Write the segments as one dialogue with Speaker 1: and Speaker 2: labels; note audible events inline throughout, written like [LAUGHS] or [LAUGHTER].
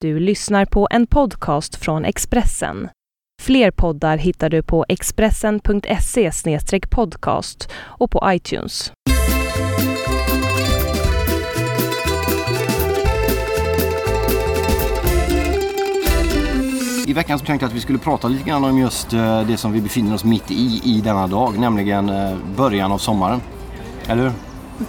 Speaker 1: Du lyssnar på en podcast från Expressen. Fler poddar hittar du på expressen.se podcast och på iTunes.
Speaker 2: I veckan så tänkte jag att vi skulle prata lite grann om just eh, det som vi befinner oss mitt i, i denna dag, nämligen eh, början av sommaren. Eller hur?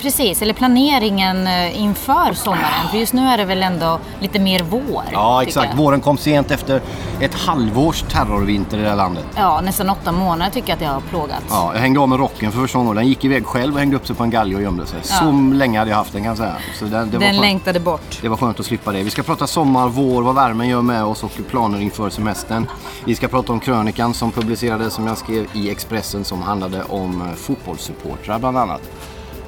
Speaker 3: Precis, eller planeringen eh, inför sommaren. För just nu är det väl ändå lite mer vår?
Speaker 2: Ja,
Speaker 3: tycker
Speaker 2: exakt.
Speaker 3: jag.
Speaker 2: Våren kom sent efter ett halvårs terrorvinter i det här landet.
Speaker 3: Ja, nästan åtta månader tycker jag att jag har plågats.
Speaker 2: Ja, jag hängde av med rocken för första gången. Den gick iväg själv och hängde upp sig på en galge och gömde sig. Så länge hade jag haft den kan jag säga. Så den, det, var
Speaker 3: Den
Speaker 2: skönt,
Speaker 3: längtade bort.
Speaker 2: det var skönt att slippa det. Vi ska prata sommar, vår, vad värmen gör med oss och planer inför semestern. Vi ska prata om krönikan som publicerades, som jag skrev i Expressen, som handlade om eh, fotbollssupportrar bland annat.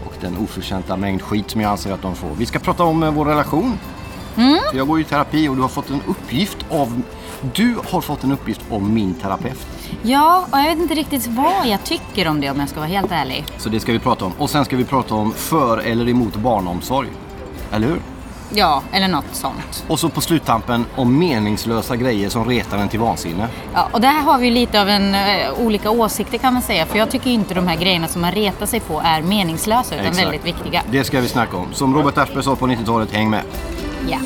Speaker 2: Och den oförtjänta mängd skit som jag anser att de får. Vi ska prata om eh, vår relation. För jag går ju i terapi och du har fått en uppgift av... Du har fått en uppgift av min terapeut.
Speaker 3: Ja, och jag vet inte riktigt vad jag tycker om det om jag ska vara helt ärlig.
Speaker 2: Så det ska vi prata om. Och sen ska vi prata om för eller emot barnomsorg. Eller hur?
Speaker 3: Ja, eller något sånt.
Speaker 2: Och så på sluttampen om meningslösa grejer som retar en till vansinne.
Speaker 3: Ja, och där har vi ju lite av en, eh, olika åsikter kan man säga. För jag tycker inte de här grejerna som man retar sig på är meningslösa utan
Speaker 2: Exakt.
Speaker 3: väldigt viktiga.
Speaker 2: Det ska vi snacka om. Som Robert Aschberg sa på 90-talet, häng med.
Speaker 3: Ja.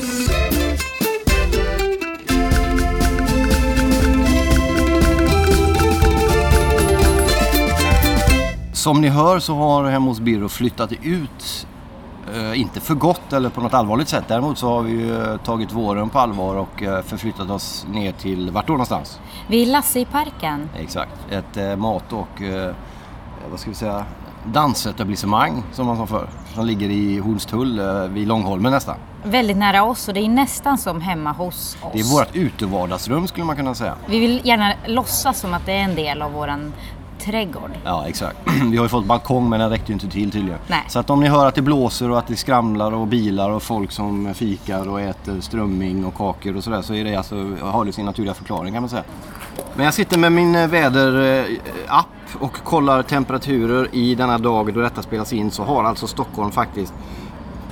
Speaker 2: Som ni hör så har Hem hos Birro flyttat ut. Eh, inte för gott eller på något allvarligt sätt. Däremot så har vi ju eh, tagit våren på allvar och eh, förflyttat oss ner till vart då någonstans?
Speaker 3: Vi är Lasse i parken.
Speaker 2: Exakt. Ett eh, mat och, eh, vad ska vi säga, dansetablissemang som man sa förr. Som ligger i Hornstull eh, vid Långholmen nästan.
Speaker 3: Väldigt nära oss och det är nästan som hemma hos oss.
Speaker 2: Det är vårt utevardagsrum skulle man kunna säga.
Speaker 3: Vi vill gärna låtsas som att det är en del av våran trädgård.
Speaker 2: Ja, exakt. [CLEARS THROAT] Vi har ju fått balkong men den räckte ju inte till tydligen.
Speaker 3: Nej.
Speaker 2: Så att om ni hör att det blåser och att det skramlar och bilar och folk som fikar och äter strömming och kakor och sådär så är det alltså, har det sin naturliga förklaring kan man säga. Men jag sitter med min eh, väderapp och kollar temperaturer i denna dag då detta spelas in så har alltså Stockholm faktiskt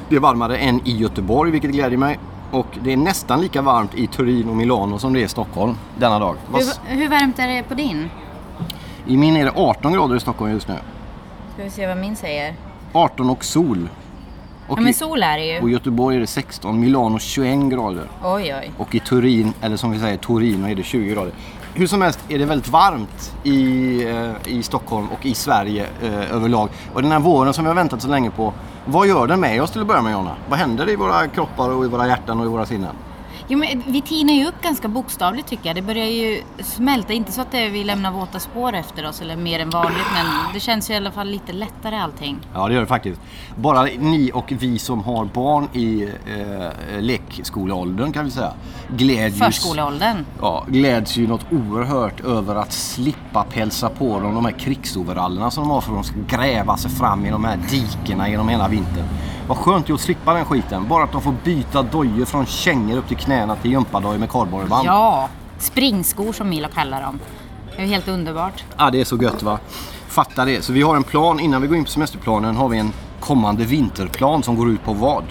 Speaker 2: det är varmare än i Göteborg vilket glädjer mig. Och det är nästan lika varmt i Turin och Milano som det är i Stockholm denna dag. Vad s-
Speaker 3: Hur, hur varmt är det på din?
Speaker 2: I min är det 18 grader i Stockholm just nu.
Speaker 3: Ska vi se vad min säger.
Speaker 2: 18 och sol. Och,
Speaker 3: Ja men
Speaker 2: i,
Speaker 3: sol är det
Speaker 2: och
Speaker 3: ju.
Speaker 2: i Göteborg är det 16, Milano 21 grader.
Speaker 3: Oj oj.
Speaker 2: Och i Turin, eller som vi säger Torino, är det 20 grader. Hur som helst är det väldigt varmt i, eh, i Stockholm och i Sverige eh, överlag. Och den här våren som vi har väntat så länge på, vad gör den med oss till att börja med Jonna? Vad händer i våra kroppar och i våra hjärtan och i våra sinnen?
Speaker 3: Jo, men vi tinar ju upp ganska bokstavligt tycker jag. Det börjar ju smälta. Inte så att det, vi lämnar våta spår efter oss eller mer än vanligt men det känns ju i alla fall lite lättare allting.
Speaker 2: Ja, det gör det faktiskt. Bara ni och vi som har barn i eh, lekskoleåldern kan vi säga, glädjs...
Speaker 3: Förskoleåldern.
Speaker 2: ja, gläds ju något oerhört över att slippa pälsa på dem de här krigsoverallerna som de har för att de ska gräva sig fram i de här dikena genom hela vintern. Vad skönt det är att slippa den skiten. Bara att de får byta dojor från kängor upp till knäna till gympadojor med kardborreband.
Speaker 3: Ja! Springskor som Milo kallar dem. Det är ju helt underbart.
Speaker 2: Ja, det är så gött va. Fatta det. Så vi har en plan. Innan vi går in på semesterplanen har vi en kommande vinterplan som går ut på vad?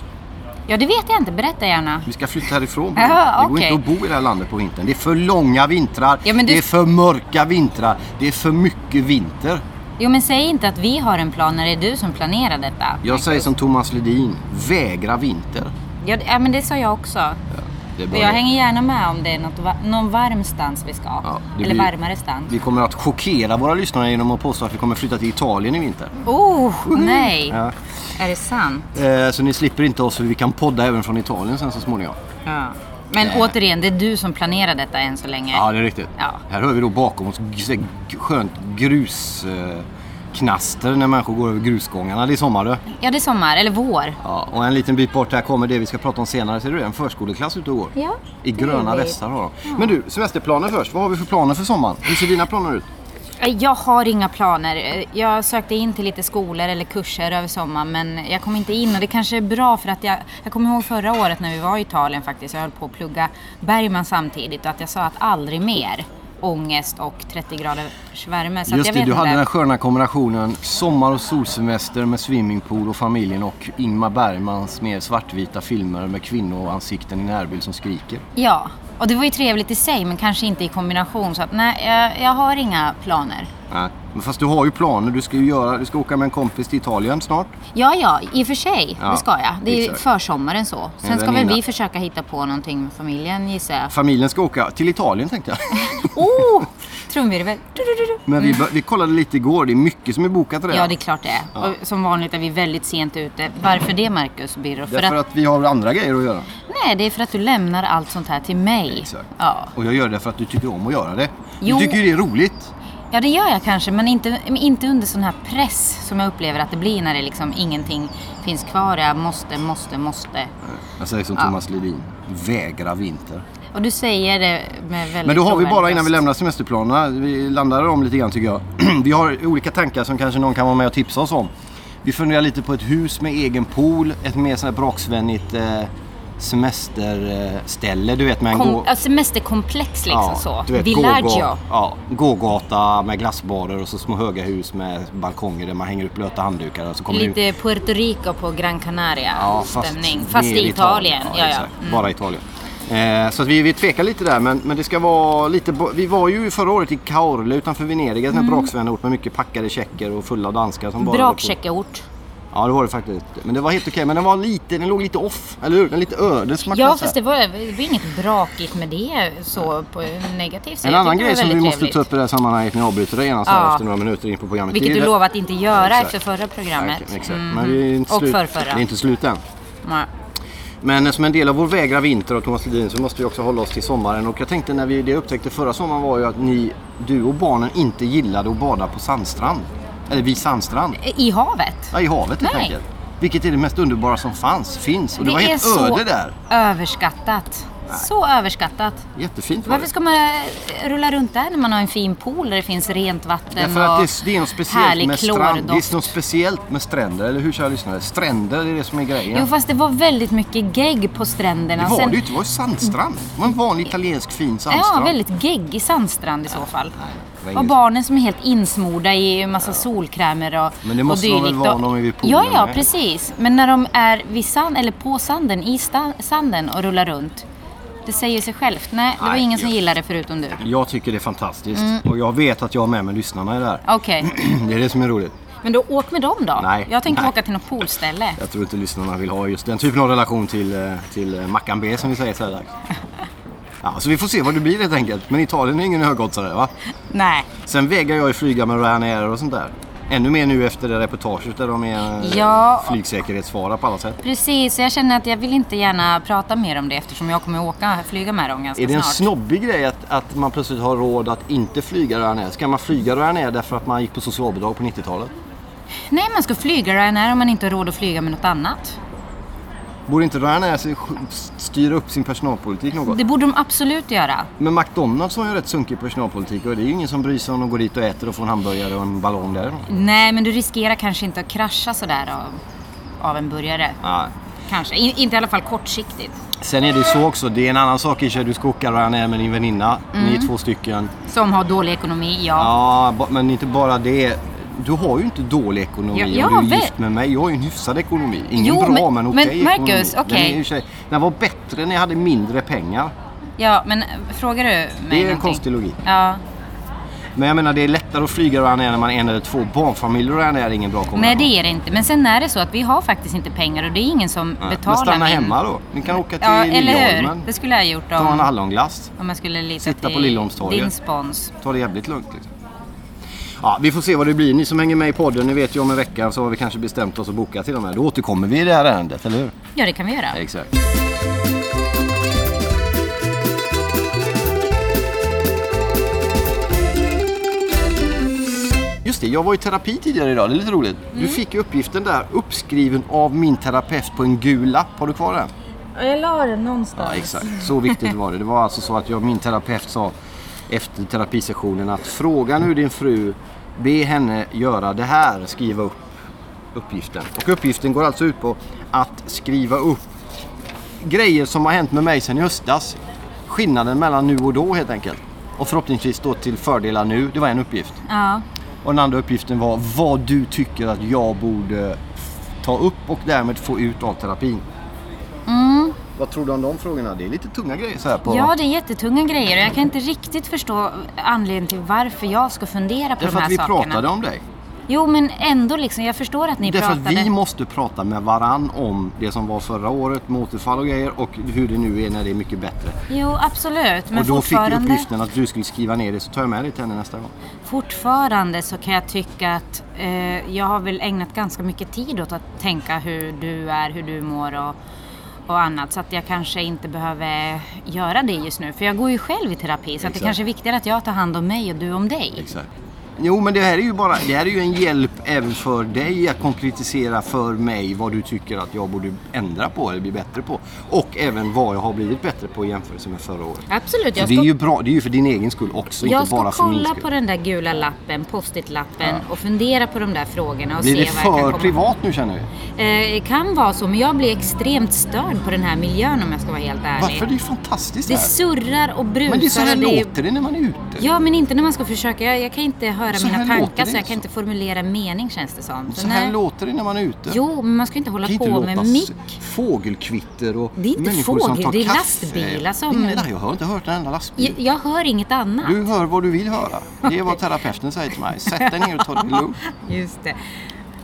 Speaker 3: Ja det vet jag inte, berätta gärna.
Speaker 2: Vi ska flytta härifrån.
Speaker 3: [LAUGHS] Ja,
Speaker 2: det går
Speaker 3: okej.
Speaker 2: inte att bo i det här landet på vintern. Det är för långa vintrar.
Speaker 3: Ja, men du-
Speaker 2: Det är för mörka vintrar. Det är för mycket vinter.
Speaker 3: Jo men säg inte att vi har en plan när det är du som planerar detta.
Speaker 2: Jag säger som Thomas Ledin, vägra vinter.
Speaker 3: Ja, det- ja men det sa jag också.
Speaker 2: Det är
Speaker 3: Och jag hänger gärna med om det är något, va- någon varm stans vi ska.
Speaker 2: Ja, det
Speaker 3: Eller
Speaker 2: blir-
Speaker 3: varmare stans.
Speaker 2: Vi kommer att chockera våra lyssnare genom att påstå att vi kommer flytta till Italien i vinter.
Speaker 3: Oh, nej!
Speaker 2: Ja.
Speaker 3: Är det sant?
Speaker 2: Eh, Så ni slipper inte oss, för vi kan podda även från Italien sen så småningom.
Speaker 3: Ja. Men
Speaker 2: Nej.
Speaker 3: återigen, det är du som planerar detta än så länge.
Speaker 2: Eh. Ja, det är riktigt.
Speaker 3: Ja.
Speaker 2: Här hör vi då bakom oss g- så här g- skönt grusknaster eh, när människor går över grusgångarna. Det är sommar du.
Speaker 3: Ja, det är sommar, eller vår.
Speaker 2: Ja, och en liten bit bort här kommer det vi ska prata om senare. Ser du det? En förskoleklass ute och går.
Speaker 3: Ja,
Speaker 2: I gröna
Speaker 3: trevligt.
Speaker 2: västar har de. Men du, semesterplaner först. Vad har vi för planer för sommaren? Hur ser dina planer ut?
Speaker 3: Eh, Jag har inga planer. Eh, Jag sökte in till lite skolor eller kurser över sommaren men jag kom inte in och det kanske är bra för att jag, jag kommer ihåg förra året när vi var i Italien faktiskt, jag höll på att plugga Bergman samtidigt och att jag sa att aldrig mer. ångest och 30 graders värme. Så att
Speaker 2: Just
Speaker 3: jag
Speaker 2: det,
Speaker 3: vet
Speaker 2: du hade
Speaker 3: inte.
Speaker 2: den här sköna kombinationen sommar och solsemester med swimmingpool och familjen och Ingmar Bergmans mer svartvita filmer med kvinnoansikten i närbild som skriker.
Speaker 3: Ja, och det var ju trevligt i sig men kanske inte i kombination. Så att nej, jag, jag har inga planer.
Speaker 2: Nej. Men fast du har ju planer. Du ska ju göra, du ska åka med en kompis till Italien snart.
Speaker 3: Ja, ja, i och för sig.
Speaker 2: Ja,
Speaker 3: det ska jag. Det är ju
Speaker 2: exakt.
Speaker 3: försommaren så.
Speaker 2: Ja,
Speaker 3: Sen ska
Speaker 2: den
Speaker 3: väl
Speaker 2: innan.
Speaker 3: vi försöka hitta på någonting med familjen gissar jag.
Speaker 2: Familjen ska åka till Italien tänkte
Speaker 3: [LAUGHS]
Speaker 2: jag. [LAUGHS]
Speaker 3: Oh! Trumvirvel. Du, du, du, du.
Speaker 2: Men vi, bör- vi kollade lite igår. Det är mycket som är bokat redan.
Speaker 3: Ja, det är klart det är. Och som vanligt är vi väldigt sent ute. Varför det, Marcus Birro? För
Speaker 2: Därför
Speaker 3: att...
Speaker 2: att... vi har andra grejer att göra.
Speaker 3: Nej, det är för att du lämnar allt sånt här till mig.
Speaker 2: Exakt.
Speaker 3: Ja.
Speaker 2: Och jag gör det för att du tycker om att göra det.
Speaker 3: Jo.
Speaker 2: Du tycker ju det är roligt.
Speaker 3: ja, det gör jag kanske, men inte, men inte under sån här press som jag upplever att det blir när det liksom ingenting finns kvar. Jag måste, måste, måste.
Speaker 2: Jag säger som Thomas Ledin. Vägra vinter.
Speaker 3: Och du säger det med väldigt
Speaker 2: Men då har vi
Speaker 3: trovärdig
Speaker 2: bara innan vi
Speaker 3: röst.
Speaker 2: lämnar semesterplanerna, vi landar dem lite grann tycker jag. [CLEARS THROAT] Vi har olika tankar som kanske någon kan vara med och tipsa oss om. Vi funderar lite på ett hus med egen pool, ett mer sånt här braksvänligt eh, semesterställe. Du vet med en
Speaker 3: Kom,
Speaker 2: gå-
Speaker 3: ja, semesterkomplex liksom så.
Speaker 2: du vet,
Speaker 3: Villaggio.
Speaker 2: gåga- ja, gågata med glassbarer och så små höga hus med balkonger där man hänger upp blöta handdukar. Och så kommer du...
Speaker 3: Lite Puerto Rico på Gran Canaria stämning. Fast,
Speaker 2: mer
Speaker 3: i Italien. Ja, Mm. ja.
Speaker 2: exakt. Bara Italien. Eh, så att vi, vi tvekar lite där men, men det ska vara lite... bo- Vi var ju förra året i Kaorle utanför Venedig, en mm. ort med mycket packade tjecker och fulla danskar som bara...
Speaker 3: Brakcheckeort.
Speaker 2: Ja det var det faktiskt. Men det var helt okej. Men den var lite, den låg lite off, eller hur? Den är lite öde som man kan
Speaker 3: Ja,
Speaker 2: säga.
Speaker 3: fast det var, det var inget brakigt med det så på negativt sätt.
Speaker 2: En
Speaker 3: Jag
Speaker 2: annan
Speaker 3: tyckte
Speaker 2: grej
Speaker 3: det var
Speaker 2: som vi
Speaker 3: väldigt
Speaker 2: måste ta
Speaker 3: trevligt.
Speaker 2: upp i det här sammanhanget när jag avbryter dig gärna så här
Speaker 3: Ja.
Speaker 2: efter några minuter in på programmet.
Speaker 3: Vilket
Speaker 2: det är
Speaker 3: du
Speaker 2: det-
Speaker 3: lovat inte göra
Speaker 2: Exakt.
Speaker 3: efter förra programmet.
Speaker 2: Exakt, exakt.
Speaker 3: Mm.
Speaker 2: Men det är inte
Speaker 3: Och
Speaker 2: slut.
Speaker 3: förrförra.
Speaker 2: Det är inte slut än.
Speaker 3: Ja.
Speaker 2: Men som en del av vår vägra vinter och Thomas Ledin så måste vi också hålla oss till sommaren. Och jag tänkte när vi det upptäckte förra sommaren var ju att ni, du och barnen inte gillade att bada på sandstrand. Eller vid sandstrand.
Speaker 3: I havet.
Speaker 2: Ja, i havet helt
Speaker 3: Nej.
Speaker 2: enkelt. Vilket är det mest underbara som fanns, finns. Och det, var
Speaker 3: är
Speaker 2: helt
Speaker 3: så
Speaker 2: öde där.
Speaker 3: överskattat. Så överskattat.
Speaker 2: Jättefint var
Speaker 3: Varför
Speaker 2: det.
Speaker 3: ska man eh, rulla runt där när man har en fin pool där det finns rent vatten
Speaker 2: Därför att det, är-
Speaker 3: och
Speaker 2: det är något speciellt
Speaker 3: härlig
Speaker 2: med strand. Det
Speaker 3: klordoft?
Speaker 2: är något speciellt med stränder, eller hur kära lyssnare? Stränder det är det som är grejen.
Speaker 3: Jo, fast det var väldigt mycket gegg på
Speaker 2: det
Speaker 3: stränderna.
Speaker 2: var
Speaker 3: Sen-
Speaker 2: det ju inte, det var ju sandstrand. Det var en vanlig italiensk fin
Speaker 3: Ja,
Speaker 2: sandstrand.
Speaker 3: väldigt geggig sandstrand i så fall.
Speaker 2: det var
Speaker 3: och
Speaker 2: inget-
Speaker 3: barnen som är helt insmorda i en massa solkrämer och
Speaker 2: Men det måste
Speaker 3: och
Speaker 2: de väl
Speaker 3: dylikt
Speaker 2: vara
Speaker 3: och-
Speaker 2: när de är vid poolen
Speaker 3: Ja, ja,
Speaker 2: med.
Speaker 3: precis. Men när de är vid sand, eller på sanden, i sta- sanden och rullar runt. Det säger sig självt. Nej, det var
Speaker 2: Nej,
Speaker 3: ingen som
Speaker 2: just.
Speaker 3: gillade det förutom du.
Speaker 2: Jag tycker det är fantastiskt. Och jag vet att jag har med mig lyssnarna i det här.
Speaker 3: Okej,
Speaker 2: [CLEARS THROAT] Det är det som är roligt.
Speaker 3: men då åk med dem då.
Speaker 2: Nej,
Speaker 3: Jag tänkte
Speaker 2: nej.
Speaker 3: åka till något poolställe.
Speaker 2: Jag tror inte lyssnarna vill ha just den typen av relation till, eh, till eh, Mackan B som vi säger så här dags. Ja, så vi får se vad det blir helt enkelt. Men Italien är ingen högoddsare va?
Speaker 3: Nej.
Speaker 2: Sen vägrar jag ju flyga med Ryanair och sånt där. Ännu mer nu efter det reportaget där de är eh,
Speaker 3: Ja.
Speaker 2: flygsäkerhetsfara på alla sätt.
Speaker 3: Precis, jag känner att jag vill inte gärna prata mer om det eftersom jag kommer åka, flyga med dem ganska
Speaker 2: Är det en
Speaker 3: snart.
Speaker 2: snobbig grej att, att man plötsligt har råd att inte flyga Ryanair? Ska man flyga Ryanair därför att man gick på socialbidrag på 90-talet?
Speaker 3: Nej, man ska flyga Ryanair om man inte har råd att flyga med något annat.
Speaker 2: Borde inte Ryanair se- styra upp sin personalpolitik något?
Speaker 3: Det borde de absolut göra.
Speaker 2: Men McDonalds har ju rätt sunkig personalpolitik och det är ju ingen som bryr sig om att gå dit och äter och få en hamburgare och en ballong där.
Speaker 3: Nej, men du riskerar kanske inte att krascha sådär av, av en burgare.
Speaker 2: Nej.
Speaker 3: Kanske. I, inte i alla fall kortsiktigt.
Speaker 2: Sen är det ju så också, det är en annan sak i sig. Du ska åka Ryanair med din väninna, ni är två stycken.
Speaker 3: Som har dålig ekonomi, Mm. ja.
Speaker 2: Ja, ba- men inte bara det. Du har ju inte dålig ekonomi
Speaker 3: Ja,
Speaker 2: om
Speaker 3: ja,
Speaker 2: du
Speaker 3: väl.
Speaker 2: är gift med mig. Jag har ju en hyfsad ekonomi. Ingen
Speaker 3: Jo,
Speaker 2: bra
Speaker 3: men-
Speaker 2: men, okej
Speaker 3: men
Speaker 2: ekonomi.
Speaker 3: Marcus,
Speaker 2: Den är
Speaker 3: okej.
Speaker 2: i och för sig- Den var bättre när jag hade mindre pengar.
Speaker 3: Ja, men äh, frågar du mig
Speaker 2: Det är en
Speaker 3: någonting?
Speaker 2: konstig logik.
Speaker 3: Ja.
Speaker 2: Men jag menar det är lättare att flyga Ryanair när man är en eller två barnfamiljer och Ryanair är ingen bra kombination.
Speaker 3: Nej, det är det inte. Men sen är det så att vi har faktiskt inte pengar och det är ingen som
Speaker 2: Nej,
Speaker 3: betalar.
Speaker 2: Men stanna
Speaker 3: min-
Speaker 2: hemma då. Ni kan åka till
Speaker 3: Ja, eller hur?
Speaker 2: Liljeholmen.
Speaker 3: Det skulle jag ha gjort
Speaker 2: Ta en
Speaker 3: om,
Speaker 2: hallonglass.
Speaker 3: om jag skulle lita
Speaker 2: Sitta på
Speaker 3: till
Speaker 2: Liljeholmstorget.
Speaker 3: din spons.
Speaker 2: Ta det jävligt lugnt. Liksom. Ja, vi får se vad det blir. Ni som hänger med i podden, ni vet ju om en vecka så har vi kanske bestämt oss att boka till de här. Då återkommer vi i det här ärendet, eller hur?
Speaker 3: Ja, det kan vi göra.
Speaker 2: Exakt. Just det, jag var i terapi tidigare idag. Det är lite roligt. Du fick ju uppgiften där uppskriven av min terapeut på en gul lapp. Har du kvar den?
Speaker 3: Jag la den
Speaker 2: Ja,
Speaker 3: någonstans.
Speaker 2: exakt. Så viktigt var det. Det var alltså så att jag, min terapeut sa efter terapisessionen att fråga nu din fru, be henne göra det här, skriva upp uppgiften. Och uppgiften går alltså ut på att skriva upp grejer som har hänt med mig sedan i höstas. Skillnaden mellan nu och då helt enkelt. och förhoppningsvis då till fördelar nu. Det var en uppgift.
Speaker 3: Ja.
Speaker 2: Och den andra uppgiften var vad du tycker att jag borde ta upp och därmed få ut av terapin. Vad tror du om de frågorna? Det är lite tunga grejer så här på...
Speaker 3: Mm. ja, det är jättetunga grejer och jag kan inte riktigt förstå anledningen till varför jag ska fundera på
Speaker 2: Därför
Speaker 3: de här
Speaker 2: att vi
Speaker 3: sakerna.
Speaker 2: pratade om dig.
Speaker 3: Jo, men ändå liksom. Jag förstår att ni
Speaker 2: Därför att
Speaker 3: pratade.
Speaker 2: vi måste prata med varann om det som var förra året med återfall och grejer och hur det nu är när det är mycket bättre.
Speaker 3: Jo, absolut. Men
Speaker 2: och då fick du
Speaker 3: fortfarande...
Speaker 2: uppgiften att du skulle skriva ner det så tar jag med dig till henne nästa gång.
Speaker 3: Fortfarande så kan jag tycka att eh, jag har väl ägnat ganska mycket tid åt att tänka hur du är, hur du mår och, och annat. Så att jag kanske inte behöver göra det just nu. För jag går ju själv i terapi så att det
Speaker 2: Exakt.
Speaker 3: kanske är viktigare att jag tar hand om mig och du om dig.
Speaker 2: Exakt. Jo men det här är ju bara, det här är ju en hjälp även för dig att konkretisera för mig vad du tycker att jag borde ändra på eller bli bättre på. Och även vad jag har blivit bättre på i jämförelse med förra året.
Speaker 3: Absolut,
Speaker 2: Så
Speaker 3: jag
Speaker 2: det är
Speaker 3: ska,
Speaker 2: ju bra, det är ju för din egen skull också,
Speaker 3: jag
Speaker 2: inte bara
Speaker 3: ska
Speaker 2: för min
Speaker 3: kolla
Speaker 2: skull.
Speaker 3: på den där gula lappen, post-it-lappen och fundera på de där frågorna och
Speaker 2: Blir
Speaker 3: se
Speaker 2: det
Speaker 3: vad
Speaker 2: för
Speaker 3: jag kan komma
Speaker 2: privat nu känner vi?
Speaker 3: Eh, Det kan vara så, men jag blir extremt störd på den här miljön om jag ska vara helt ärlig.
Speaker 2: Varför? Det är ju fantastiskt
Speaker 3: Det
Speaker 2: här.
Speaker 3: surrar och brusar.
Speaker 2: Men det är så här
Speaker 3: och det är-
Speaker 2: låter det när man är ute.
Speaker 3: Ja, men inte när man ska försöka. Jag, jag kan inte höra
Speaker 2: Så här
Speaker 3: mina
Speaker 2: låter
Speaker 3: tankar
Speaker 2: det.
Speaker 3: så jag kan inte formulera en mening känns det som.
Speaker 2: Så här
Speaker 3: nej.
Speaker 2: låter det när man är ute.
Speaker 3: Jo, men man ska inte hålla
Speaker 2: Det kan
Speaker 3: på
Speaker 2: inte
Speaker 3: med
Speaker 2: låta
Speaker 3: mick.
Speaker 2: s- fågelkvitter och
Speaker 3: Det är inte
Speaker 2: människor som
Speaker 3: fågel,
Speaker 2: tar
Speaker 3: det är
Speaker 2: kaffe.
Speaker 3: lastbilar som-
Speaker 2: Det är- nej, jag har inte hört en enda lastbil.
Speaker 3: Jag, jag hör inget annat.
Speaker 2: Du hör vad du vill höra. Det är vad terapeuten säger till mig. Sätt dig ner och ta det lugnt.
Speaker 3: Just det.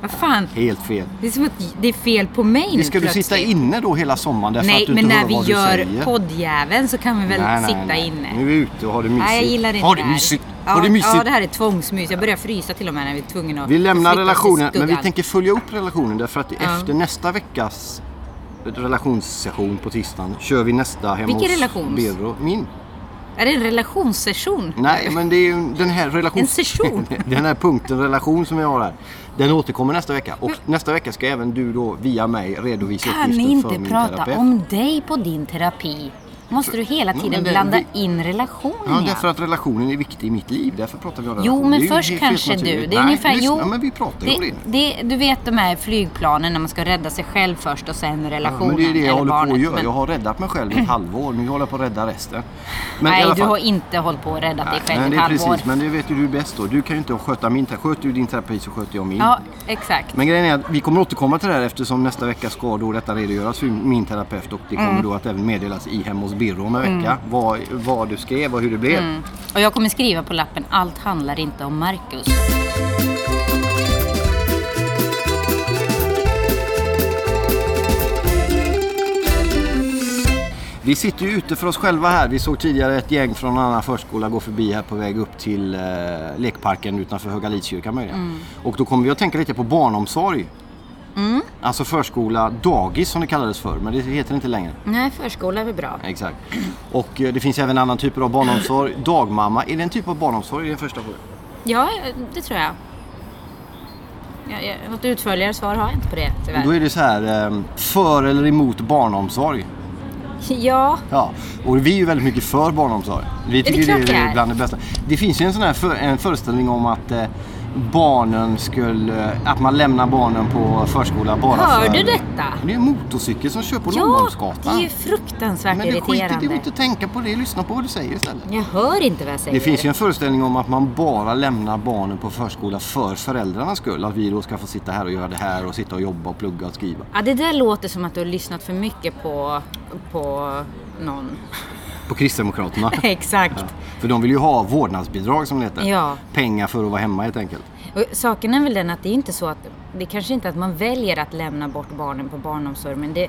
Speaker 3: Vad fan,
Speaker 2: Helt fel.
Speaker 3: det är som att det är fel på mig nu
Speaker 2: Det ska du
Speaker 3: plötsligt.
Speaker 2: sitta inne då hela sommaren därför
Speaker 3: Nej,
Speaker 2: att du
Speaker 3: men
Speaker 2: inte
Speaker 3: när
Speaker 2: hör
Speaker 3: vi
Speaker 2: vad du
Speaker 3: gör
Speaker 2: säger?
Speaker 3: poddjäveln så kan vi väl
Speaker 2: Nej, nej,
Speaker 3: sitta
Speaker 2: nej.
Speaker 3: inne.
Speaker 2: Nu är vi ute och har det mysigt.
Speaker 3: Nej, jag gillar inte
Speaker 2: har
Speaker 3: det
Speaker 2: det
Speaker 3: här.
Speaker 2: mysigt.
Speaker 3: Ja,
Speaker 2: Har det mysigt.
Speaker 3: Ja, det här är tvångsmys. Jag börjar frysa till och med när vi är tvungna att
Speaker 2: Vi lämnar
Speaker 3: flytta oss i
Speaker 2: relationen, men vi
Speaker 3: skuggan.
Speaker 2: tänker följa upp relationen därför att efter nästa veckas relationssession på tisdagen kör vi nästa hemma
Speaker 3: Vilken
Speaker 2: hos
Speaker 3: relations?
Speaker 2: Birro. Min.
Speaker 3: Är det en relationssession?
Speaker 2: Nej, men det är ju den här relations...
Speaker 3: En session?
Speaker 2: [LAUGHS] den här punkten relation som jag har här. Den återkommer nästa vecka. Och nästa vecka ska även du då via mig redovisa
Speaker 3: kan
Speaker 2: uppgifter
Speaker 3: ni
Speaker 2: för
Speaker 3: inte
Speaker 2: min
Speaker 3: prata
Speaker 2: terapeut.
Speaker 3: om dig på din terapi? Måste du hela
Speaker 2: men
Speaker 3: tiden
Speaker 2: det-
Speaker 3: blanda
Speaker 2: vi-
Speaker 3: in relationen?
Speaker 2: Ja,
Speaker 3: i
Speaker 2: därför
Speaker 3: allt?
Speaker 2: att relationen är viktig i mitt liv. Därför pratar vi om
Speaker 3: Jo,
Speaker 2: relationen.
Speaker 3: men
Speaker 2: Det är ju
Speaker 3: först
Speaker 2: helt- helt
Speaker 3: kanske du.
Speaker 2: naturligt.
Speaker 3: Det är
Speaker 2: Nej,
Speaker 3: ungefär...
Speaker 2: lyssna,
Speaker 3: jo,
Speaker 2: men vi pratar ju om det nu.
Speaker 3: det, Du vet de här flygplanen när man ska rädda sig själv först och sen
Speaker 2: Ja,
Speaker 3: relationen
Speaker 2: men det är det jag
Speaker 3: eller
Speaker 2: håller
Speaker 3: barnet.
Speaker 2: på att göra.
Speaker 3: men-
Speaker 2: Jag har räddat mig själv i ett halvår. Nu håller jag på att rädda resten. Men i
Speaker 3: Nej,
Speaker 2: alla
Speaker 3: du
Speaker 2: fall-
Speaker 3: har inte hållit på att rädda dig själv
Speaker 2: men
Speaker 3: i
Speaker 2: det
Speaker 3: ett
Speaker 2: är
Speaker 3: halvår.
Speaker 2: precis, men det vet ju du bäst då. Du kan ju inte sköta min terapi. Sköter du din terapi så sköter jag min.
Speaker 3: Ja, exakt.
Speaker 2: Men grejen är att vi kommer återkomma till det här eftersom nästa vecka ska då detta redogöras för min terapeut och det kommer då att även meddelas i Hem hos Birro om en vecka vad, vad du skrev och hur det blev.
Speaker 3: Och jag kommer skriva på lappen, allt handlar inte om Marcus.
Speaker 2: Vi sitter ju ute för oss själva här. Vi såg tidigare ett gäng från en annan förskola gå förbi här på väg upp till eh, lekparken utanför Högalidskyrkan möjligen. Och då kommer vi att tänka lite på barnomsorg.
Speaker 3: Mm,
Speaker 2: Alltså förskola, dagis som det kallades förr, men det heter det inte längre.
Speaker 3: Nej, förskola är väl bra.
Speaker 2: Exakt. Och eh, det finns även annan typer av barnomsorg. Dagmamma, är det en typ av barnomsorg? Det är den första frågan.
Speaker 3: Ja, det tror jag. Ja, ja, något utförligare svar har jag inte på det tyvärr.
Speaker 2: Då är det så här, eh, för eller emot barnomsorg?
Speaker 3: Ja,
Speaker 2: Ja, och vi är ju väldigt mycket för barnomsorg. Vi
Speaker 3: det
Speaker 2: tycker det är,
Speaker 3: klart vi är.
Speaker 2: bland det bästa. Det finns ju en sån här för, en föreställning om att eh, barnen skulle, eh, att man lämnar barnen på förskola bara
Speaker 3: Hör
Speaker 2: för...
Speaker 3: du detta?
Speaker 2: Det är en motorcykel som kör på
Speaker 3: ja det
Speaker 2: Långholmsgatan.
Speaker 3: är ju fruktansvärt
Speaker 2: Men det skiter
Speaker 3: irriterande.
Speaker 2: du inte att tänka på det, lyssna på vad du säger istället.
Speaker 3: Jag hör inte vad jag säger.
Speaker 2: Det finns ju en föreställning om att man bara lämnar barnen på förskola för föräldrarnas skull. Att vi då ska få sitta här och göra det här och sitta och jobba och plugga och skriva.
Speaker 3: Ja, det där låter som att du har lyssnat för mycket på, på någon. [LAUGHS]
Speaker 2: På Kristdemokraterna.
Speaker 3: Exakt.
Speaker 2: För de vill ju ha vårdnadsbidrag som det heter.
Speaker 3: Ja.
Speaker 2: Pengar för att vara hemma helt enkelt.
Speaker 3: Och saken är väl den att det är inte så att det kanske inte är att man väljer att lämna bort barnen på barnomsorg men det,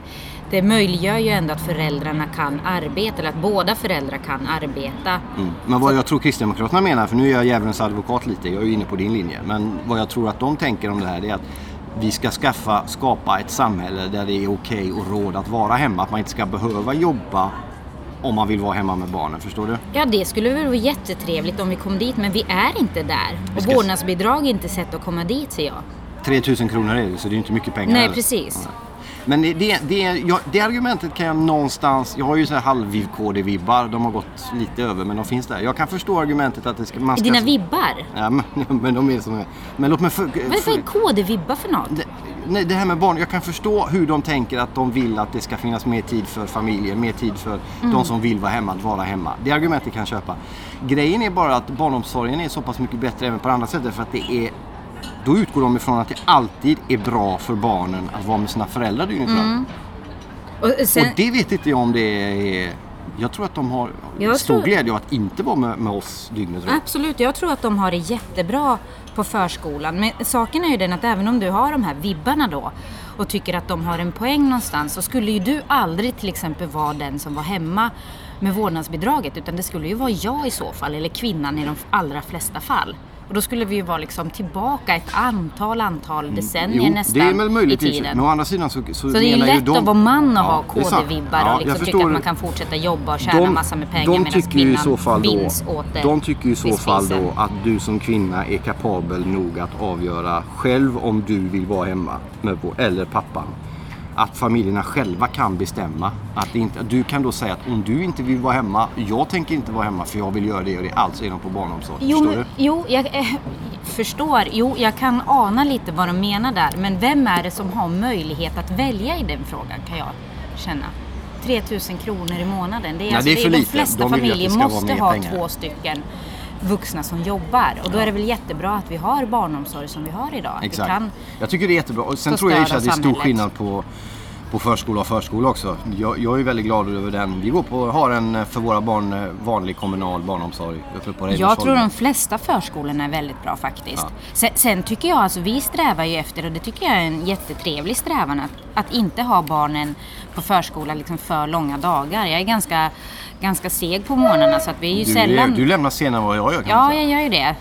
Speaker 3: det möjliggör ju ändå att föräldrarna kan arbeta eller att båda föräldrar kan arbeta.
Speaker 2: Mm. Men vad jag tror Kristdemokraterna menar, för nu är jag djävulens advokat lite, jag är ju inne på din linje. Men vad jag tror att de tänker om det här det är att vi ska skaffa, skapa ett samhälle där det är okej och råd att vara hemma. Att man inte ska behöva jobba om man vill vara hemma med barnen, förstår du?
Speaker 3: Ja, det skulle väl vara jättetrevligt om vi kom dit, men vi är inte där. Och
Speaker 2: ska-
Speaker 3: vårdnadsbidrag är inte sätt att komma dit, ser jag.
Speaker 2: 3000 kronor är det, så det är ju inte mycket pengar
Speaker 3: Nej,
Speaker 2: heller.
Speaker 3: precis.
Speaker 2: Men det, det, det, jag, det argumentet kan jag någonstans... Jag har ju så här halv-KD-vibbar. De har gått lite över, men de finns där. Jag kan förstå argumentet att det ska, man ska...
Speaker 3: Dina vibbar.
Speaker 2: [LAUGHS] Ja, men, men de är som... Men låt mig... För,
Speaker 3: Vad är
Speaker 2: för-
Speaker 3: KD-vibbar för något?
Speaker 2: Det- nej, det här med barn, jag kan förstå hur de tänker att de vill att det ska finnas mer tid för familjen, mer tid för
Speaker 3: Mm.
Speaker 2: de som vill vara hemma, att vara hemma. Det argumentet kan jag köpa. Grejen är bara att barnomsorgen är så pass mycket bättre även på det andra sättet för att det är då utgår de ifrån att det alltid är bra för barnen att vara med sina föräldrar dygnet runt.
Speaker 3: Och Mm. sen,
Speaker 2: Och det vet inte jag om det är... Jag tror att de har
Speaker 3: Jag
Speaker 2: stor
Speaker 3: tror-
Speaker 2: glädje av att inte vara med, med oss dygnet runt.
Speaker 3: Absolut, jag tror att de har det jättebra på förskolan. Men saken är ju den att även om du har de här vibbarna då och tycker att de har en poäng någonstans så skulle ju du aldrig till exempel vara den som var hemma med vårdnadsbidraget utan det skulle ju vara jag i så fall eller kvinnan i de allra flesta fall. Och då skulle vi ju vara liksom tillbaka ett antal, antal decennier nästan
Speaker 2: Mm, det är väl möjligt
Speaker 3: i
Speaker 2: i och för sig.
Speaker 3: tiden.
Speaker 2: Men å andra sidan så, så,
Speaker 3: Så det är ju
Speaker 2: menar
Speaker 3: lätt
Speaker 2: de,
Speaker 3: att vara man och ha
Speaker 2: Ja, det är sant.
Speaker 3: KD-vibbar
Speaker 2: Ja, jag
Speaker 3: och liksom tycka att
Speaker 2: förstår.
Speaker 3: man kan fortsätta jobba och tjäna massa med pengar
Speaker 2: de
Speaker 3: medan
Speaker 2: tycker ju i så fall då,
Speaker 3: vinns åt det
Speaker 2: De tycker ju i så
Speaker 3: vid
Speaker 2: fall
Speaker 3: spisen.
Speaker 2: då att du som kvinna är kapabel nog att avgöra själv om du vill vara hemma med vår, eller pappan. Att familjerna själva kan bestämma. Att det inte, du kan då säga att om du inte vill vara hemma, jag tänker inte vara hemma för jag vill göra det och det. Alltså är de på barnomsorg.
Speaker 3: Jo,
Speaker 2: Förstår
Speaker 3: men,
Speaker 2: du?
Speaker 3: jo jag eh, förstår. Jo, jag kan ana lite vad de menar där. Men vem är det som har möjlighet att välja i den frågan kan jag känna. 3000 kronor i månaden. Det är,
Speaker 2: Nej,
Speaker 3: alltså,
Speaker 2: det är för
Speaker 3: de
Speaker 2: lite.
Speaker 3: flesta
Speaker 2: De vill ju att det
Speaker 3: familjer
Speaker 2: ska vara
Speaker 3: måste
Speaker 2: mer
Speaker 3: ha
Speaker 2: pengar.
Speaker 3: två stycken vuxna som jobbar. Och då är det väl jättebra att vi har barnomsorg som vi har idag. Att vi
Speaker 2: Exakt.
Speaker 3: Kan,
Speaker 2: Jag tycker det är jättebra. Och sen
Speaker 3: få
Speaker 2: tror jag i och för sig
Speaker 3: stöd
Speaker 2: att det är
Speaker 3: av
Speaker 2: stor
Speaker 3: samhället.
Speaker 2: skillnad på, på förskola och förskola också. Jag, jag är väldigt glad över den. Vi går på, har en eh, för våra barn eh, vanlig kommunal barnomsorg uppe på
Speaker 3: Jag tror
Speaker 2: Reimersholmen.
Speaker 3: de flesta förskolorna är väldigt bra faktiskt. Sen, sen tycker jag, alltså vi strävar ju efter, och det tycker jag är en jättetrevlig strävan, att, att inte ha barnen på förskola liksom för långa dagar. Jag är ganska, ganska seg på morgnarna så att vi är ju
Speaker 2: du, eh,
Speaker 3: sällan...
Speaker 2: du lämnar senare än vad jag gör kan man
Speaker 3: Ja,
Speaker 2: säga.
Speaker 3: jag gör ju det.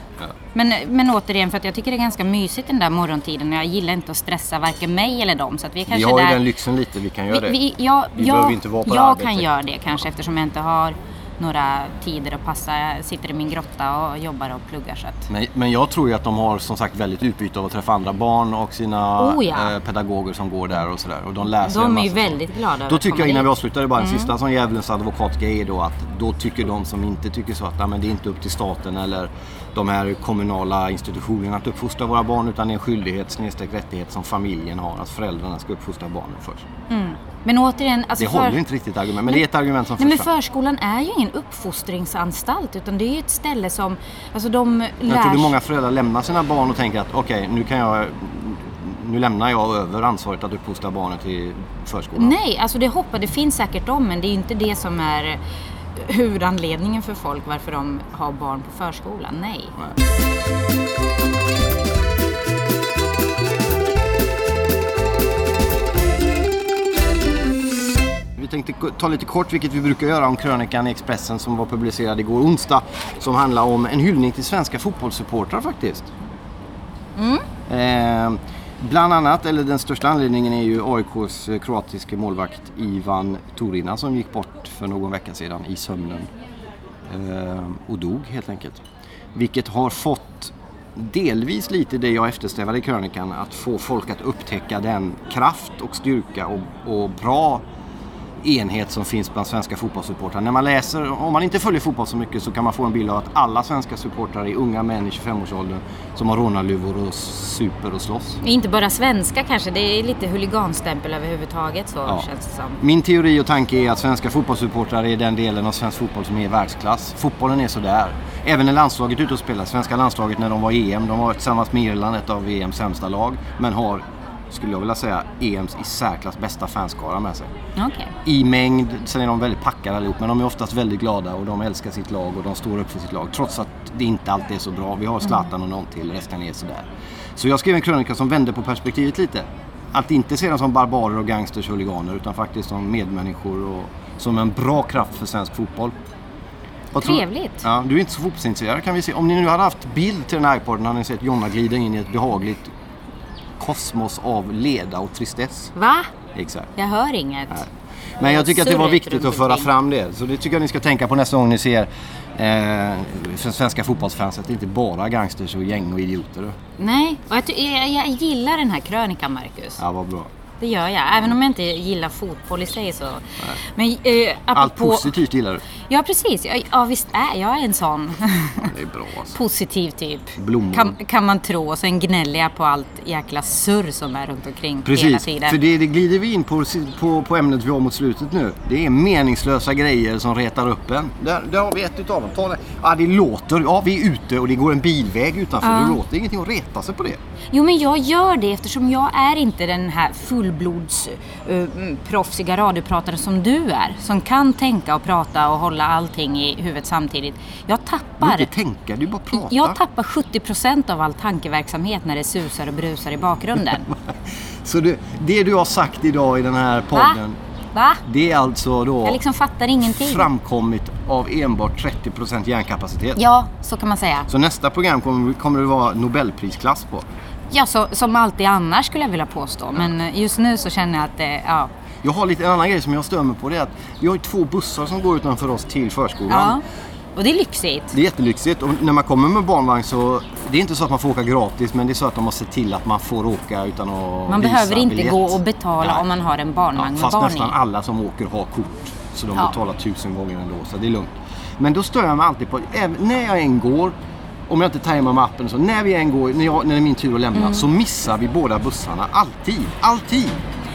Speaker 3: Men, men återigen, för att jag tycker det är ganska mysigt den där morgontiden och jag gillar inte att stressa varken mig eller dem. Så att vi är
Speaker 2: Vi
Speaker 3: kanske
Speaker 2: har ju
Speaker 3: där...
Speaker 2: den lyxen lite, vi kan göra det.
Speaker 3: Vi, vi, jag
Speaker 2: Vi
Speaker 3: jag,
Speaker 2: behöver inte vara på
Speaker 3: jag
Speaker 2: arbetet.
Speaker 3: kan göra det kanske eftersom jag inte har några tider att passa. Jag sitter i min grotta och jobbar och pluggar. Så att.
Speaker 2: Men, men jag tror ju att de har som sagt väldigt utbyte av att träffa andra barn och sina
Speaker 3: Oh, ja.
Speaker 2: eh, pedagoger som går där och sådär. Och de läser en
Speaker 3: De
Speaker 2: massa
Speaker 3: är ju
Speaker 2: saker.
Speaker 3: väldigt glada över
Speaker 2: Då
Speaker 3: att
Speaker 2: tycker
Speaker 3: komma
Speaker 2: jag innan vi
Speaker 3: dit.
Speaker 2: avslutar det bara en
Speaker 3: Mm.
Speaker 2: sista som djävulens advokatgrej är då att då tycker de som inte tycker så att nej, men det är inte upp till staten eller de här kommunala institutionerna att uppfostra våra barn utan det är en skyldighet snedstreck rättighet som familjen har att föräldrarna ska uppfostra barnen först.
Speaker 3: Mm. Men återigen, alltså
Speaker 2: Det håller ju inte riktigt argument men det är ett argument som
Speaker 3: Nej, men
Speaker 2: förs fram.
Speaker 3: förskolan är ju ingen uppfostringsanstalt utan det är ju ett ställe som, alltså de
Speaker 2: Men Jag
Speaker 3: lär
Speaker 2: tror det är många föräldrar lämnar sina barn och tänker att okej nu kan jag nu lämnar jag över ansvaret att uppfostra barnet till förskolan.
Speaker 3: Nej, alltså det hoppar, det finns säkert de men det är ju inte det som är huvudanledningen för folk varför de har barn på förskolan. Nej.
Speaker 2: Vi tänkte k- ta lite kort, vilket vi brukar göra, om krönikan i Expressen som var publicerad igår onsdag. Som handlar om en hyllning till svenska fotbollssupportrar faktiskt. Eh, bland annat, eller den största anledningen är ju AIKs eh, kroatiske målvakt Ivan Turina som gick bort för någon vecka sedan i sömnen. Eh, och dog helt enkelt. Vilket har fått delvis lite det jag eftersträvade i krönikan, att få folk att upptäcka den kraft och styrka och, och bra enhet som finns bland svenska fotbollssupportrar. När man läser, om man inte följer fotboll så mycket så kan man få en bild av att alla svenska supportrar är unga män i 25-årsåldern som har rånarluvor och super och slåss.
Speaker 3: Inte bara svenska kanske, det är lite huliganstämpel överhuvudtaget så
Speaker 2: Ja.
Speaker 3: känns det som.
Speaker 2: Min teori och tanke är att svenska fotbollssupportrar är den delen av svensk fotboll som är i världsklass. Fotbollen är sådär. Även när landslaget är ute och spelar, svenska landslaget när de var i EM, de var tillsammans med Irland ett av EMs sämsta lag, men har, skulle jag vilja säga, EMs i särklass bästa fanskara med sig.
Speaker 3: Okej.
Speaker 2: i mängd. Sen är de väldigt packade allihop, men de är oftast väldigt glada och de älskar sitt lag och de står upp för sitt lag. Trots att det inte alltid är så bra. Vi har Zlatan och någon till, resten är sådär. Så jag skrev en krönika som vände på perspektivet lite. Att inte se dem som barbarer och gangsters och huliganer, utan faktiskt som medmänniskor och som en bra kraft för svensk fotboll. Vad tror-
Speaker 3: Trevligt.
Speaker 2: Ja, du är inte så fotbollsintresserad kan vi se. Om ni nu hade haft bild till den här iPoden hade ni sett Jonna glida in i ett behagligt kosmos av leda och tristess.
Speaker 3: Va?
Speaker 2: Exakt.
Speaker 3: Jag hör inget.
Speaker 2: Men jag tycker att det var
Speaker 3: Surret
Speaker 2: viktigt
Speaker 3: runt
Speaker 2: att föra
Speaker 3: omkring.
Speaker 2: fram det. Så det tycker jag ni ska tänka på nästa gång ni ser eh, svenska fotbollsfans. Att det inte bara är gangsters och gäng och idioter.
Speaker 3: Nej, och jag, ty- jag, jag gillar den här krönikan Marcus.
Speaker 2: Ja, vad bra.
Speaker 3: det gör jag. Även om jag inte gillar fotboll i sig så. Men, eh,
Speaker 2: Allt
Speaker 3: apropå-
Speaker 2: positivt gillar du.
Speaker 3: Ja, precis. Ja, ja, visst är jag en sån. [LAUGHS]
Speaker 2: Ja, det är bra alltså.
Speaker 3: Positiv typ.
Speaker 2: Blommor.
Speaker 3: Kan, kan man tro. Och sen gnäller jag på allt jäkla surr som är runt omkring hela
Speaker 2: Precis,
Speaker 3: tiden.
Speaker 2: för det, det glider vi in på, på, på ämnet vi har mot slutet nu. Det är meningslösa grejer som retar upp en. Där, där har vi ett utav dem. Ta det. Ja, det låter. Ja, vi är ute och det går en bilväg utanför. Det låter ingenting att reta sig på det.
Speaker 3: Jo, men jag gör det eftersom jag är inte den här fullblods eh, mm, proffsiga radioprataren som du är. Som kan tänka och prata och hålla allting i huvudet samtidigt. Jag
Speaker 2: Du
Speaker 3: tappar...
Speaker 2: behöver inte tänka, du bara pratar.
Speaker 3: Jag tappar 70% av all tankeverksamhet när det susar och brusar i bakgrunden.
Speaker 2: Så det, det du har sagt idag i den här podden,
Speaker 3: Va?
Speaker 2: det är alltså då
Speaker 3: Jag liksom fattar ingenting.
Speaker 2: framkommit av enbart 30% hjärnkapacitet.
Speaker 3: Ja, så kan man säga.
Speaker 2: Så nästa program kommer, kommer det vara Nobelprisklass på.
Speaker 3: Ja, så, som alltid annars skulle jag vilja påstå. Men eh, just nu så känner jag att det, ja.
Speaker 2: Jag har lite en annan grej som jag stör mig på. Det är att vi har ju två bussar som går utanför oss till
Speaker 3: ja.
Speaker 2: förskolan.
Speaker 3: Och det är lyxigt.
Speaker 2: Det är jättelyxigt och när man kommer med barnvagn så det är inte så att man får åka gratis men det är så att de har sett till att man får åka utan att
Speaker 3: Man
Speaker 2: visa
Speaker 3: behöver inte
Speaker 2: biljett.
Speaker 3: gå och betala
Speaker 2: Nej.
Speaker 3: om man har en barnvagn
Speaker 2: ja,
Speaker 3: med
Speaker 2: Fast
Speaker 3: barn
Speaker 2: nästan
Speaker 3: i.
Speaker 2: alla som åker har kort så de
Speaker 3: Ja.
Speaker 2: betalar tusen gånger ändå så det är lugnt. Men då stör jag mig alltid på, även när jag än går om jag inte tajmar med appen så, när vi än går, när, jag, när det är min tur att lämna
Speaker 3: Mm.
Speaker 2: så missar vi båda bussarna. Alltid, alltid!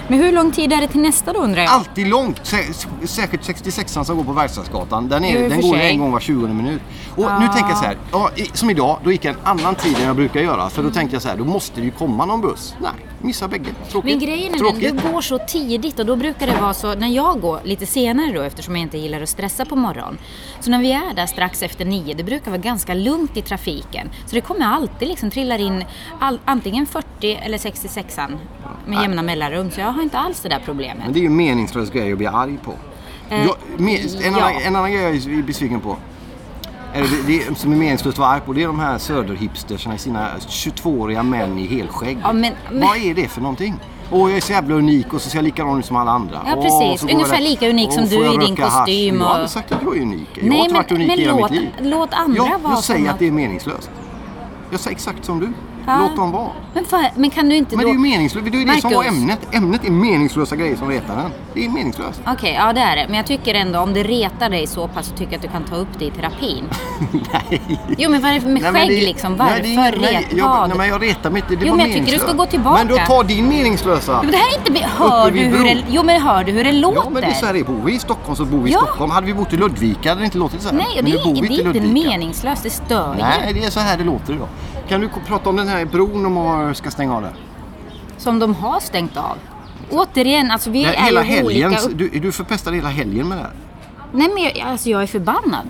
Speaker 3: Men hur lång tid är det till nästa då undrar jag?
Speaker 2: Alltid långt. Sä- Säkert 66an som går på Verkstadsgatan. Den,
Speaker 3: Jo, i
Speaker 2: är,
Speaker 3: och
Speaker 2: den
Speaker 3: för
Speaker 2: går ju
Speaker 3: sig. Ah.
Speaker 2: en gång var 20 minut. Och nu tänker jag så här. Ja, i, som idag, då gick jag en annan tid än jag brukar göra. För då
Speaker 3: Mm.
Speaker 2: tänkte jag så här, då måste det ju komma någon buss. Nej, missar bägge. Tråkigt.
Speaker 3: Men grejen är
Speaker 2: Tråkigt.
Speaker 3: den, du går så tidigt och då brukar det vara så, när jag går lite senare då eftersom jag inte gillar att stressa på morgonen. Så när vi är där strax efter nio, det brukar vara ganska lugnt i trafiken. Så det kommer alltid liksom trillar in all, antingen 40 eller 66an med jämna mellanrum. Så jag har inte alls det där problemet.
Speaker 2: Men det är ju en meningslös grej att bli arg på.
Speaker 3: Eh,
Speaker 2: jag, me, en,
Speaker 3: ja.
Speaker 2: annan, en annan grej jag är besviken på. Eller det, det som är meningslöst att vara arg på det är de här söderhipsterserna i sina 22-åriga män i helskägg.
Speaker 3: Ja, men-
Speaker 2: Vad är det för någonting? Åh, jag är så jävla unik och så ser jag likadan ut som alla andra.
Speaker 3: Ja,
Speaker 2: Åh,
Speaker 3: precis.
Speaker 2: så går jag
Speaker 3: Ungefär
Speaker 2: där.
Speaker 3: lika unik
Speaker 2: Åh,
Speaker 3: som
Speaker 2: får
Speaker 3: du
Speaker 2: jag
Speaker 3: i din
Speaker 2: röka hasch?
Speaker 3: kostym
Speaker 2: Jag
Speaker 3: och-
Speaker 2: har aldrig sagt att jag är unik. Jag
Speaker 3: Nej,
Speaker 2: har inte
Speaker 3: men-
Speaker 2: varit unik
Speaker 3: men
Speaker 2: i hela
Speaker 3: låt-
Speaker 2: mitt liv.
Speaker 3: låt andra
Speaker 2: jag,
Speaker 3: vara
Speaker 2: Jag säger
Speaker 3: såna.
Speaker 2: att det är meningslöst. Jag säger exakt som du.
Speaker 3: Ja.
Speaker 2: Låt dem vara.
Speaker 3: Men, fan, men kan du inte
Speaker 2: Men det
Speaker 3: då...
Speaker 2: är ju meningslöst. Det är ju det som var
Speaker 3: Marcus.
Speaker 2: ämnet. Ämnet är meningslösa grejer som retar en. Det är
Speaker 3: [LAUGHS]
Speaker 2: meningslöst.
Speaker 3: Okej, ja det är det. Men jag tycker ändå om det retar dig så pass så tycker jag att du kan ta upp det i terapin.
Speaker 2: Nej.
Speaker 3: Jo men vad är det med
Speaker 2: Nej,
Speaker 3: skägg
Speaker 2: men det-
Speaker 3: liksom?
Speaker 2: nej,
Speaker 3: Varför
Speaker 2: det är ingen- nej,
Speaker 3: ret
Speaker 2: jag,
Speaker 3: vad?
Speaker 2: nej, men jag retar mig inte. Det
Speaker 3: Jo,
Speaker 2: var
Speaker 3: men jag tycker du
Speaker 2: meningslöst.
Speaker 3: ska gå tillbaka.
Speaker 2: Men då ta din meningslösa.
Speaker 3: Men det här är inte... be- Hör
Speaker 2: vid
Speaker 3: du hur
Speaker 2: bron.
Speaker 3: det... Jo men hör du hur det låter?
Speaker 2: Ja, men det är så här det bor vi i Stockholm så bor vi i
Speaker 3: Ja.
Speaker 2: Stockholm. Hade vi bott i Ludvika hade det inte låtit så här.
Speaker 3: Nej, och
Speaker 2: men
Speaker 3: det,
Speaker 2: nu bor vi
Speaker 3: är, det är
Speaker 2: inte i
Speaker 3: inte
Speaker 2: Ludvika.
Speaker 3: meningslöst. Det stör ju.
Speaker 2: Nej, det är så här det låter idag. Kan du k- prata om den här bron de har- ska stänga av där?
Speaker 3: Som de har stängt av. Återigen, alltså vi
Speaker 2: Det
Speaker 3: är
Speaker 2: hela
Speaker 3: ju
Speaker 2: helgen,
Speaker 3: olika... upp-
Speaker 2: du, du förpestade hela helgen med det här.
Speaker 3: Nej men jag- alltså jag är förbannad.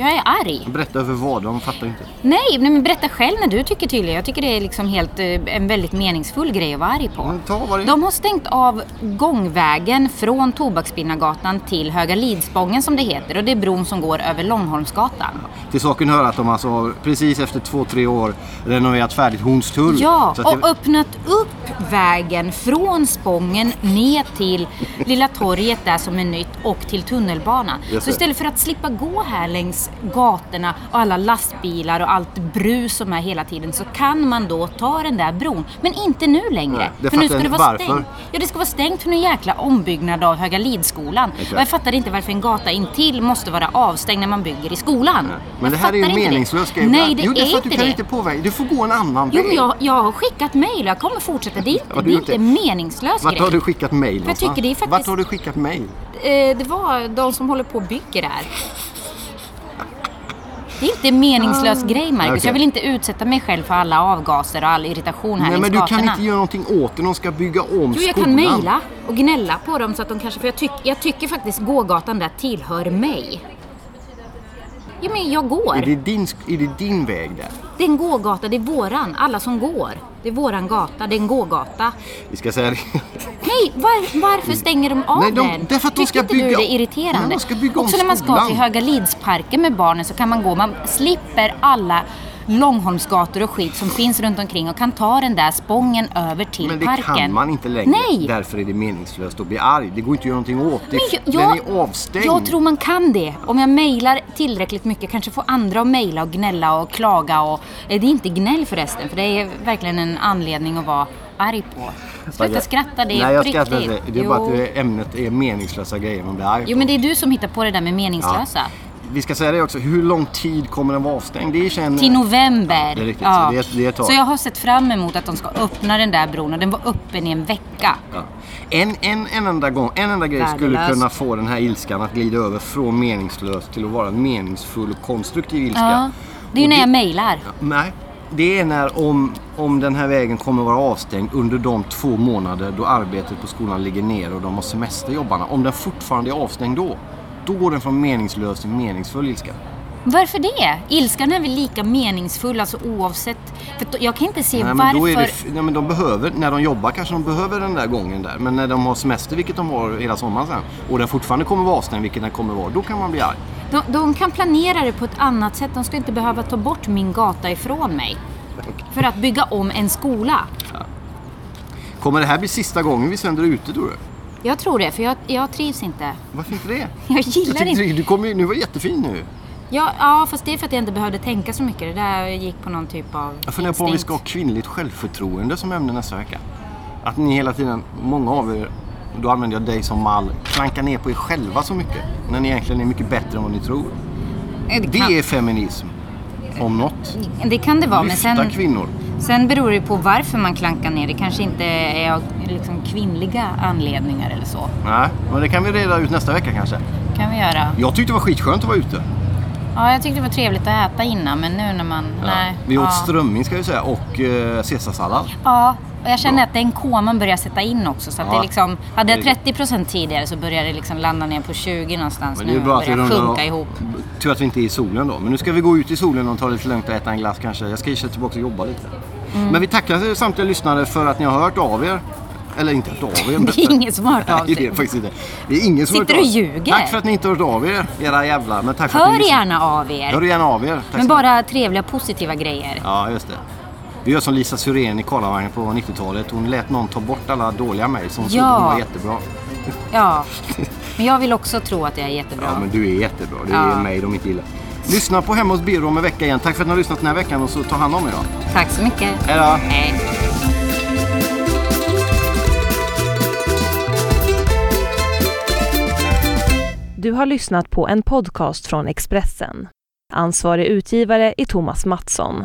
Speaker 3: Jag är arg.
Speaker 2: Berätta över vad, de fattar inte.
Speaker 3: Nej, nej men berätta själv när du tycker tydligen. Jag tycker det är liksom helt, eh, en väldigt meningsfull grej att vara arg på.
Speaker 2: Men ta vad det är.
Speaker 3: De har stängt av gångvägen från Tobaksspinnargatan till Höga Lidspången som det heter och det är bron som går över Långholmsgatan.
Speaker 2: Till saken hör att de alltså har precis efter två, tre år renoverat färdigt Hornstull.
Speaker 3: Ja,
Speaker 2: Så att
Speaker 3: och
Speaker 2: det-
Speaker 3: öppnat upp vägen från Spången ner till Lilla torget där som är nytt och till tunnelbanan.
Speaker 2: Just
Speaker 3: Så
Speaker 2: det.
Speaker 3: istället för att slippa gå här längs gatorna och alla lastbilar och allt brus som är hela tiden så kan man då ta den där bron. Men inte nu längre.
Speaker 2: Nej, det
Speaker 3: för nu
Speaker 2: fattar jag inte. Varför?
Speaker 3: stängt. Ja, det ska vara stängt för en jäkla ombyggnad av Höga Lidskolan.
Speaker 2: Exakt.
Speaker 3: Och jag fattar inte varför en gata intill måste vara avstängd när man bygger i skolan.
Speaker 2: Men det
Speaker 3: Jag
Speaker 2: här är ju
Speaker 3: fattar
Speaker 2: en
Speaker 3: inte det.
Speaker 2: meningslös grej.
Speaker 3: Nej, det
Speaker 2: jo,
Speaker 3: är
Speaker 2: för att
Speaker 3: inte
Speaker 2: du kan
Speaker 3: det.
Speaker 2: inte påverka. Du får gå en annan
Speaker 3: Jo,
Speaker 2: väg.
Speaker 3: men jag, jag har skickat mejl och jag kommer fortsätta. Det är inte,
Speaker 2: Har du
Speaker 3: det är
Speaker 2: gjort
Speaker 3: inte
Speaker 2: det?
Speaker 3: en meningslös
Speaker 2: Vart
Speaker 3: grej.
Speaker 2: har du skickat mejl
Speaker 3: jag tycker det är faktiskt-
Speaker 2: Vart har du skickat mejl?
Speaker 3: Eh, det var de som håller på och bygger där. Det är inte en meningslös grej, Marcus.
Speaker 2: Ah. Okej.
Speaker 3: Jag vill inte utsätta mig själv för alla avgaser och all irritation här
Speaker 2: Nej,
Speaker 3: längs
Speaker 2: men du kan
Speaker 3: gatorna.
Speaker 2: inte göra någonting åt det. De ska bygga om
Speaker 3: Jo, jag
Speaker 2: skolan.
Speaker 3: kan mejla och gnälla på dem så att de kanske... För jag, tyck, jag tycker faktiskt gågatan där tillhör mig. Ja, men jag går.
Speaker 2: Är det, din, sk- är det din väg där?
Speaker 3: Det är en gågata, det är våran. Alla som går. Det är våran gata, det är en gågata.
Speaker 2: Vi ska säga det.
Speaker 3: Nej, var, varför stänger de av
Speaker 2: Mm. Nej, de-
Speaker 3: den?
Speaker 2: därför att de
Speaker 3: Tycker
Speaker 2: ska
Speaker 3: inte du
Speaker 2: bygga-
Speaker 3: det är irriterande?
Speaker 2: Nej, de ska bygga om
Speaker 3: Också när man ska
Speaker 2: skolan.
Speaker 3: till Höga Lidsparken med barnen så kan man gå, man slipper alla Långholmsgator och skit som finns runt omkring och kan ta den där spången över till
Speaker 2: Men det
Speaker 3: parken.
Speaker 2: kan man inte längre.
Speaker 3: Nej!
Speaker 2: Därför är det meningslöst att bli arg. Det går inte att göra någonting åt det.
Speaker 3: Men
Speaker 2: Den är avstängd.
Speaker 3: jag tror man kan det. Om jag mejlar tillräckligt mycket, kanske får andra att mejla och gnälla och klaga. Och, eh, det är inte gnäll förresten, för det är verkligen en anledning att vara arg på. Sluta skratta, det är
Speaker 2: Nej, jag
Speaker 3: på
Speaker 2: skrattar
Speaker 3: riktigt.
Speaker 2: inte. Det är
Speaker 3: Jo.
Speaker 2: bara att det- ämnet är meningslösa grejer man blir arg
Speaker 3: Jo,
Speaker 2: på.
Speaker 3: men det är du som hittar på det där med meningslösa.
Speaker 2: Vi ska säga det också, hur lång tid kommer den vara avstängd? Det känner...
Speaker 3: Till november.
Speaker 2: Ja, det är riktigt. Så det är ett- det är ett tag.
Speaker 3: Så jag har sett fram emot att de ska öppna den där bron och den var öppen i en vecka.
Speaker 2: Ja. En, en, en enda gång, en enda grej skulle
Speaker 3: Värdelöst.
Speaker 2: kunna få den här ilskan att glida över från meningslös till att vara en meningsfull och konstruktiv ilska.
Speaker 3: Ja. Det är ju
Speaker 2: Och
Speaker 3: när
Speaker 2: det-
Speaker 3: jag mejlar.
Speaker 2: Nej, det är när om, om den här vägen kommer vara avstängd under de två månader då arbetet på skolan ligger ner och de har semester jobbarna. Om den fortfarande är avstängd då, då går den från meningslös till meningsfull ilska.
Speaker 3: Varför det? Ilskan är väl lika meningsfull alltså oavsett. För då- jag kan inte se
Speaker 2: Nej, men
Speaker 3: varför.
Speaker 2: då är det, f- nej, men de behöver, när de jobbar kanske de behöver den där gången där. Men när de har semester, vilket de har hela sommaren sen, och den fortfarande kommer vara avstängd, vilket den kommer vara, då kan man bli arg.
Speaker 3: de, de kan planera det på ett annat sätt. De ska inte behöva ta bort min gata ifrån mig. För att bygga om en skola.
Speaker 2: Kommer det här bli sista gången vi sänder ute tror du?
Speaker 3: Jag tror det, för jag, jag trivs inte.
Speaker 2: Varför inte det?
Speaker 3: Jag gillar
Speaker 2: Jag tyckte
Speaker 3: inte...
Speaker 2: du, du kom ju, nu var det jättefin nu.
Speaker 3: Ja, ja, fast det är för att jag inte behövde tänka så mycket. Det där gick på någon typ av
Speaker 2: Jag funderar på om vi ska ha kvinnligt självförtroende som ämne nästa vecka. Att ni hela tiden, många av er, och då använder jag dig som mall, klankar ner på er själva så mycket. När ni egentligen är mycket bättre än vad ni tror.
Speaker 3: instinkt.
Speaker 2: Det
Speaker 3: kan,
Speaker 2: är feminism. Om något.
Speaker 3: det kan det vara, men
Speaker 2: Lyfta
Speaker 3: sen,
Speaker 2: kvinnor.
Speaker 3: sen beror det ju på varför man klankar ner. Det kanske inte är av liksom, kvinnliga anledningar eller så.
Speaker 2: Nej, men det kan vi reda ut nästa vecka kanske.
Speaker 3: kan vi göra.
Speaker 2: Jag tyckte det var skitskönt att vara ute.
Speaker 3: Ja, jag tyckte det var trevligt att äta innan, men nu när man... Nej.
Speaker 2: Vi åt
Speaker 3: ja.
Speaker 2: strömming ska jag säga och eh, caesarsallad.
Speaker 3: Ja, och jag känner att den koman börjar sätta in också. Så att
Speaker 2: Ja.
Speaker 3: det liksom, hade jag
Speaker 2: Det är
Speaker 3: 30% tidigare så börjar det liksom landa ner på 20 någonstans
Speaker 2: Men det är
Speaker 3: nu
Speaker 2: ju
Speaker 3: och
Speaker 2: bra att vi
Speaker 3: börjar
Speaker 2: rundar
Speaker 3: sjunka
Speaker 2: av.
Speaker 3: ihop.
Speaker 2: Tur att vi inte är i solen då. Men nu ska vi gå ut i solen och ta lite lugnt och äta en glass kanske. Jag ska kanske tillbaka och jobba lite.
Speaker 3: Mm.
Speaker 2: Men vi tackar samtliga lyssnare för att ni har hört av er. Eller inte hört av er. men-
Speaker 3: [LAUGHS] Det är ingen som har hört av
Speaker 2: Nej, det är
Speaker 3: sig.
Speaker 2: faktiskt inte. Det är ingen som har
Speaker 3: Sitter
Speaker 2: hört av
Speaker 3: och
Speaker 2: sig.
Speaker 3: ljuger?
Speaker 2: Tack för att ni inte har hört av er, era jävlar. Men tack för att ni
Speaker 3: Hör
Speaker 2: lyssnar.
Speaker 3: gärna av er.
Speaker 2: Hör gärna av er. Tack ska
Speaker 3: Men
Speaker 2: ni ha.
Speaker 3: bara trevliga, positiva grejer.
Speaker 2: Ja, just det. Vi gör som Lisa Syrén i Karlavagnen på 90-talet. Hon lät någon ta bort alla dåliga mejl som hon trodde
Speaker 3: Ja.
Speaker 2: hon var jättebra.
Speaker 3: Ja. Men jag vill också tro att jag är
Speaker 2: Ja,
Speaker 3: jättebra.
Speaker 2: men du är jättebra. Det är
Speaker 3: Ja.
Speaker 2: mig de inte gillar. Lyssna på Hemma hos Birro om en vecka igen. Tack för att ni har lyssnat den här veckan och så ta hand om er då.
Speaker 3: Tack så mycket.
Speaker 2: Hej då!
Speaker 3: Hej.
Speaker 1: Du har lyssnat på en podcast från Expressen. Ansvarig utgivare är Thomas Mattsson.